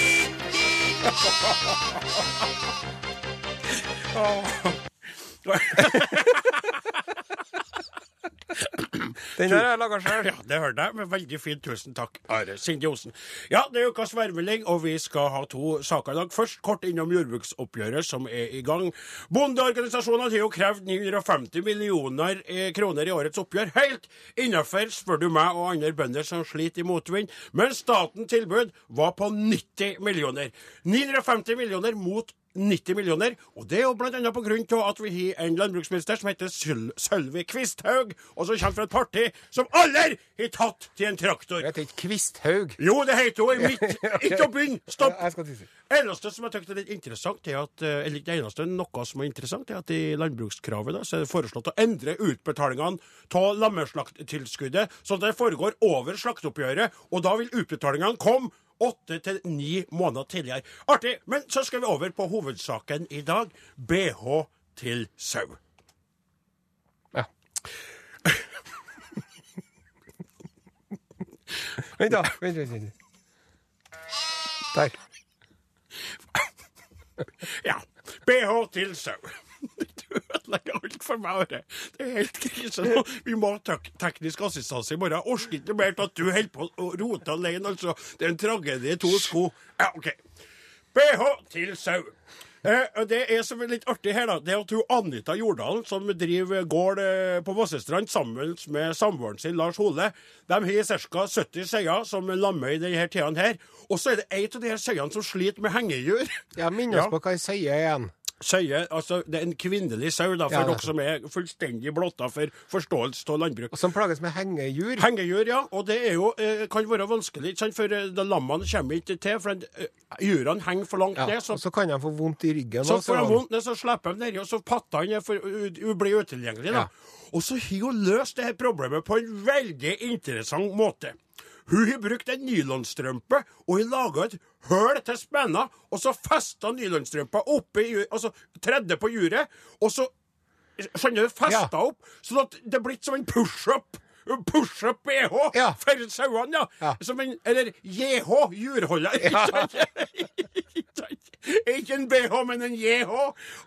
Speaker 1: Den der har jeg laget selv.
Speaker 2: Ja, det hørte jeg. men Veldig fint. Tusen takk, Are Sinde Osen. Ja, det er ukas værmelding, og vi skal ha to saker i dag. Først kort innom jordbruksoppgjøret som er i gang. Bondeorganisasjonene har jo krevd 950 millioner eh, kroner i årets oppgjør. Helt innafor, spør du meg og andre bønder som sliter i motvind. Men statens tilbud var på 90 millioner. 950 millioner mot 90 millioner, og det er jo blant annet på grunn til at vi har en landbruksminister som heter Syl Sølvi Kvisthaug, og som kommer fra et parti som aldri har tatt til en traktor.
Speaker 1: Jeg heter ikke Kvisthaug.
Speaker 2: Jo, det heter hun i mitt Ikke å begynne! Stopp!
Speaker 1: Jeg skal tisse.
Speaker 2: eneste som jeg tykker er litt interessant, er at, eh, eller ikke det eneste, noe som er interessant, er at i landbrukskravet da, så er det foreslått å endre utbetalingene av lammeslakttilskuddet, sånn at det foregår over slakteoppgjøret, og da vil utbetalingene komme åtte til ni måneder tidligere. Artig! Men så skal vi over på hovedsaken i dag. BH til sau.
Speaker 1: Ja. Vent, da. Vent, vent, vent. Der.
Speaker 2: Ja. BH til sau. Du ødelegger alt for meg, Are. Det er helt krise nå. Vi må ha tek teknisk assistanse i morgen. Jeg orker ikke mer til at du holder på å rote alene, altså. Det er en tragedie i to sko. Ja, OK. BH til sau. Eh, og det er som er litt artig her, da, det er at hun Anita Jordal, som driver gård eh, på Vossestrand sammen med samboeren sin Lars Hole, de har ca. 70 sauer som lammer i denne tida her. Og så er det ei av de her sauene som sliter med hengegjør.
Speaker 1: Ja, minn oss på hva jeg sier igjen.
Speaker 2: Søye, altså det er en kvinnelig sau, da, for
Speaker 1: Ja, det er
Speaker 2: dere som er fullstendig blotta for forståelse av landbruk.
Speaker 1: Og som plages med hengejur.
Speaker 2: Hengejur, ja, og det er jo, eh, kan være vanskelig, ikke sant, for eh, da lammene kommer ikke til, for den, eh, jurene henger for langt
Speaker 1: Ja,
Speaker 2: ned.
Speaker 1: og
Speaker 2: Så,
Speaker 1: så kan de få vondt i ryggen.
Speaker 2: så
Speaker 1: også,
Speaker 2: får de
Speaker 1: da.
Speaker 2: vondt ned, så slipper de nedi, og så pattene er for- u- u- blir utilgjengelige. da.
Speaker 1: Ja.
Speaker 2: Og så har hun løst det her problemet på en veldig interessant måte. Hun har brukt en nylonstrømpe, og har laga et høl til spenna, og så festa nylonstrømpa oppi, ju- altså tredde på juret, og så Skjønner du? Festa
Speaker 1: Ja.
Speaker 2: opp, sånn at det er blitt som en pushup. En Pushup BH
Speaker 1: Ja.
Speaker 2: for sauene, ja.
Speaker 1: Ja.
Speaker 2: Som en, eller JH, jurholder. Ikke en BH, men en JH.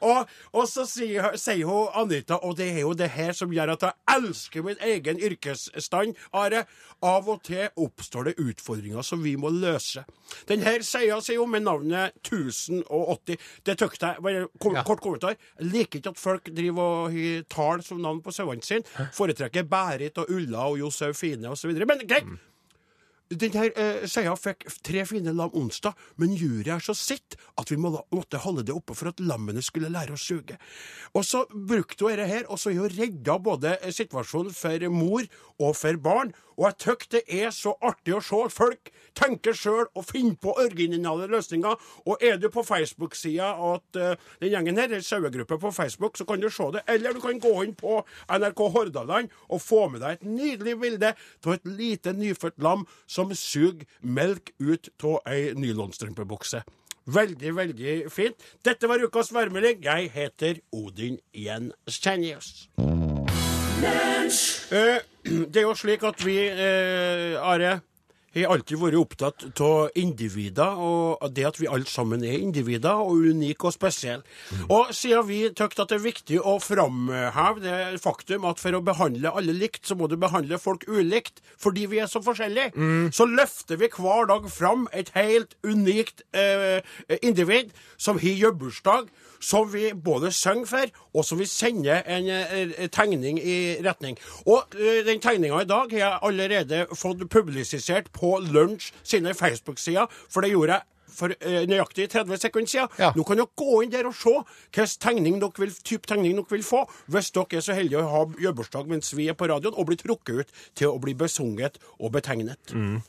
Speaker 2: Og, og så sier, sier hun Anita, og det er jo det her som gjør at jeg elsker min egen yrkesstand, Are. Av og til oppstår det utfordringer som vi må løse. Denne seia sier hun med navnet 1080. Det tøkte jeg. Bare kom,
Speaker 1: Ja.
Speaker 2: Kort kommentar. Jeg liker ikke at folk driver og har tall som navn på sauene sine. Foretrekker Berit og Ulla og Josefine osv. Men greit. Den her eh, seia fikk tre fine lam onsdag, men juryet er så sitt at vi må, måtte holde det oppe for at lammene skulle lære å suge. Og så brukte hun dette her, og så har hun redda både eh, situasjonen for mor og for barn. Og jeg tykker det er så artig å se folk tenke sjøl og finne på originale løsninger. Og er du på Facebook-sida at eh, den gjengen her, eller sauegruppa på Facebook, så kan du se det. Eller du kan gå inn på NRK Hordaland og få med deg et nydelig bilde av et lite nyfødt lam som suger melk ut av ei nylonstrømpebukse. Veldig, veldig fint. Dette var ukas værmelding. Jeg heter Odin Jensenius. Eh, det er jo slik at vi, eh, Are, har alltid vært opptatt av individer, og det at vi alle sammen er individer, og unike og spesielle. Og siden vi tykte at det er viktig å framheve det faktum at for å behandle alle likt, så må du behandle folk ulikt, fordi vi er så forskjellige, så løfter vi hver dag fram et helt unikt eh, individ som har gjøbursdag, som vi både synger for, og som vi sender en eh, tegning i retning. Og eh, den tegninga i dag har jeg allerede fått publisert på Lunsj sine Facebook-sider, for det gjorde jeg for eh, nøyaktig 30 sekunder siden.
Speaker 1: Ja.
Speaker 2: Nå kan dere gå inn der og se hvilken tegning dere vil, type tegning dere vil få, hvis dere er så heldige å ha gjøbursdag mens vi er på radioen, og blir trukket ut til å bli besunget og betegnet.
Speaker 1: Mm.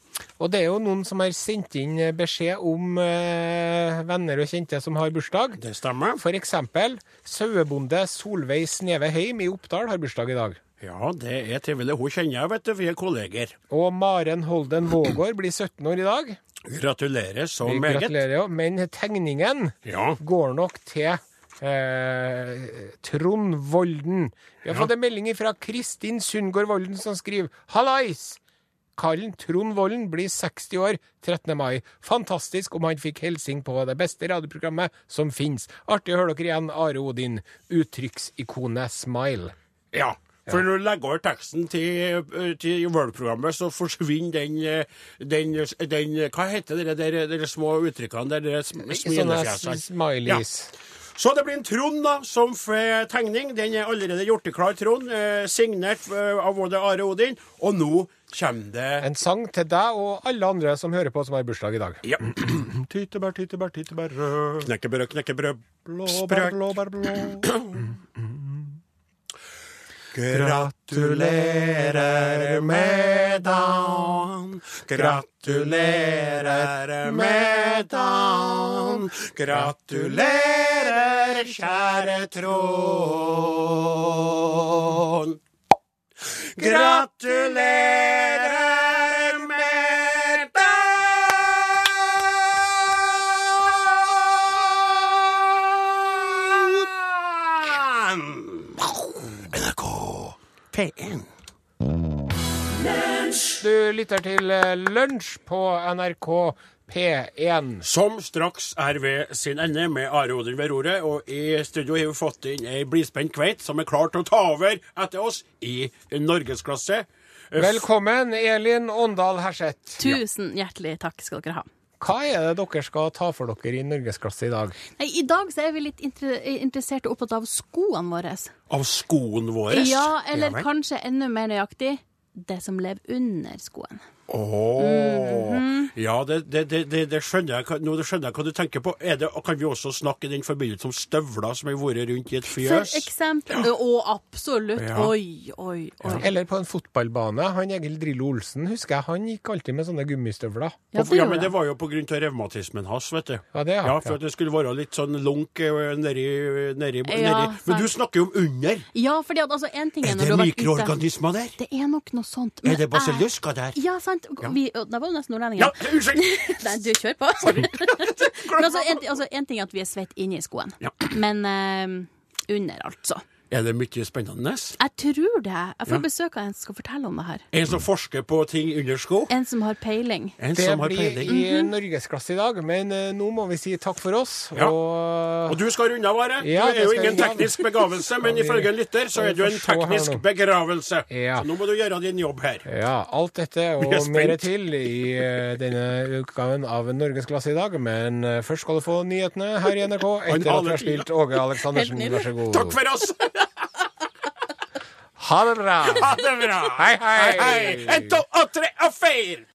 Speaker 1: Og det er jo noen som har sendt inn eh, beskjed om eh, venner og kjente som har bursdag.
Speaker 2: Det stemmer.
Speaker 1: For eksempel sauebonde Solveig Sneve Heim i Oppdal har bursdag i dag.
Speaker 2: Ja, det er trivelig. Hun kjenner jeg, vet du. Vi er kolleger.
Speaker 1: Og Maren Holden Vågård blir 17 år i dag.
Speaker 2: Gratulerer så
Speaker 1: Vi
Speaker 2: meget.
Speaker 1: gratulerer jo. Men tegningen
Speaker 2: Ja.
Speaker 1: går nok til eh, Trond Volden. Vi har fått en melding fra Kristin Sundgaard Volden som skriver Hallais! Kallen Trond Volden blir 60 år 13. mai. Fantastisk om han fikk hilsing på det beste radioprogrammet som fins. Artig å høre dere igjen, Are Odin. Uttrykksikonet smile.
Speaker 2: Ja. For når du legger over teksten til, eh, til World-programmet, så forsvinner den, eh, den, den Hva heter det der, de små uttrykkene der? de sm-
Speaker 1: Sånne
Speaker 2: Smilefjesene.
Speaker 1: smileys.
Speaker 2: Så det blir en Trond da, som får tegning. Den er allerede gjort i klar, Trond. Eh, signert eh, av både Are og Odin. Og nå kommer det
Speaker 1: En sang til deg og alle andre som hører på som har bursdag i dag.
Speaker 2: ja.
Speaker 5: Tyttebær, tyttebær, tyttebær rød.
Speaker 2: Knekkebrød, knekkebrød,
Speaker 5: Blåbær,
Speaker 2: sprøk.
Speaker 5: blåbær, blå.
Speaker 2: Gratulerer med dagen. Gratulerer med dagen. Gratulerer, kjære Trond. Gratulerer med dagen! NRK P1.
Speaker 1: Du lytter til eh, Lunsj på NRK P1.
Speaker 2: Som straks er ved sin ende, med Are Odin ved roret. Og i studio har vi fått inn ei blidspent kveit som er klar til å ta over etter oss i norgesklasse. Eh,
Speaker 1: Velkommen, Elin Åndal Herseth.
Speaker 7: Tusen hjertelig takk skal dere ha.
Speaker 1: Hva er det dere skal ta for dere i norgesklasse i dag?
Speaker 7: Nei, I dag så er vi litt inter interessert og opptatt av skoene våre.
Speaker 2: Av skoen vår.
Speaker 7: Ja, eller
Speaker 2: vel.
Speaker 7: kanskje enda mer nøyaktig det som lever under skoen.
Speaker 2: Åh.
Speaker 7: Mhm.
Speaker 2: Ja, det, det, det, det, det skjønner jeg, hva- nå skjønner jeg hva du tenker på. Er det, og kan vi også snakke i den forbindelse om støvler som har vært rundt i et
Speaker 7: For
Speaker 2: fjøs?
Speaker 7: eksempel Og absolutt.
Speaker 2: Ja.
Speaker 7: Oi, oi, oi.
Speaker 1: Eller på en fotballbane. Han Egil Drillo Olsen, husker jeg, han gikk alltid med sånne gummistøvler.
Speaker 7: Ja,
Speaker 2: Ja, men
Speaker 7: gjorde
Speaker 2: det
Speaker 7: jeg.
Speaker 2: var jo på grunn av revmatismen hans, vet du.
Speaker 1: Ja, det er
Speaker 2: ja, for
Speaker 1: ja.
Speaker 2: at det skulle være litt sånn lunk eh, nedi, nedi,
Speaker 7: Ja,
Speaker 2: nedi. Men du
Speaker 7: sant.
Speaker 2: snakker jo om under.
Speaker 7: ja fordi at altså, en ting er
Speaker 2: Er
Speaker 7: når du
Speaker 2: det
Speaker 7: har vært ute
Speaker 2: mikroorganismer der?
Speaker 7: Det er nok noe sånt.
Speaker 2: Er det
Speaker 7: jeg-
Speaker 2: basillusker der?
Speaker 7: Ja, sant. Vi, og da var jo nesten nordlendinger.
Speaker 2: Ja, unnskyld!
Speaker 7: Nei, du kjør på. Men altså, en, altså, en ting er at vi er svett inni skoen,
Speaker 2: Ja.
Speaker 7: men eh, under, altså.
Speaker 2: Er det mye spennende?
Speaker 7: Jeg tror det. Jeg får
Speaker 2: Ja.
Speaker 7: besøk av en som skal fortelle om det her.
Speaker 2: En som forsker på ting under sko?
Speaker 7: En som har peiling.
Speaker 2: En
Speaker 1: Det
Speaker 2: som har
Speaker 1: blir
Speaker 2: peiling?
Speaker 1: i norgesklasse i dag, men eh, nå må vi si takk for oss.
Speaker 2: Ja.
Speaker 1: Og
Speaker 2: Og du skal runde av, Are.
Speaker 1: Ja,
Speaker 2: du er
Speaker 1: det
Speaker 2: jo
Speaker 1: skal
Speaker 2: ingen
Speaker 1: jeg runde av.
Speaker 2: teknisk begavelse, men
Speaker 1: Ja, vi-
Speaker 2: ifølge en lytter så
Speaker 1: ja, vi
Speaker 2: er du
Speaker 1: får
Speaker 2: en
Speaker 1: se her
Speaker 2: teknisk
Speaker 1: nå.
Speaker 2: begravelse.
Speaker 1: Ja.
Speaker 2: Så nå må du gjøre din jobb her.
Speaker 1: Ja, alt dette og
Speaker 2: Vi er spent.
Speaker 1: mer til i eh, denne utgaven av Norgesklasse i dag. Men eh, først skal du få nyhetene her i NRK
Speaker 2: Han
Speaker 1: etter at vi
Speaker 2: aner
Speaker 1: har spilt Åge Aleksandersen. Vær så god.
Speaker 2: Takk for oss!
Speaker 1: Ha det bra.
Speaker 2: Ha det bra!
Speaker 1: Hei, hei.
Speaker 2: En, to, og tre og fire!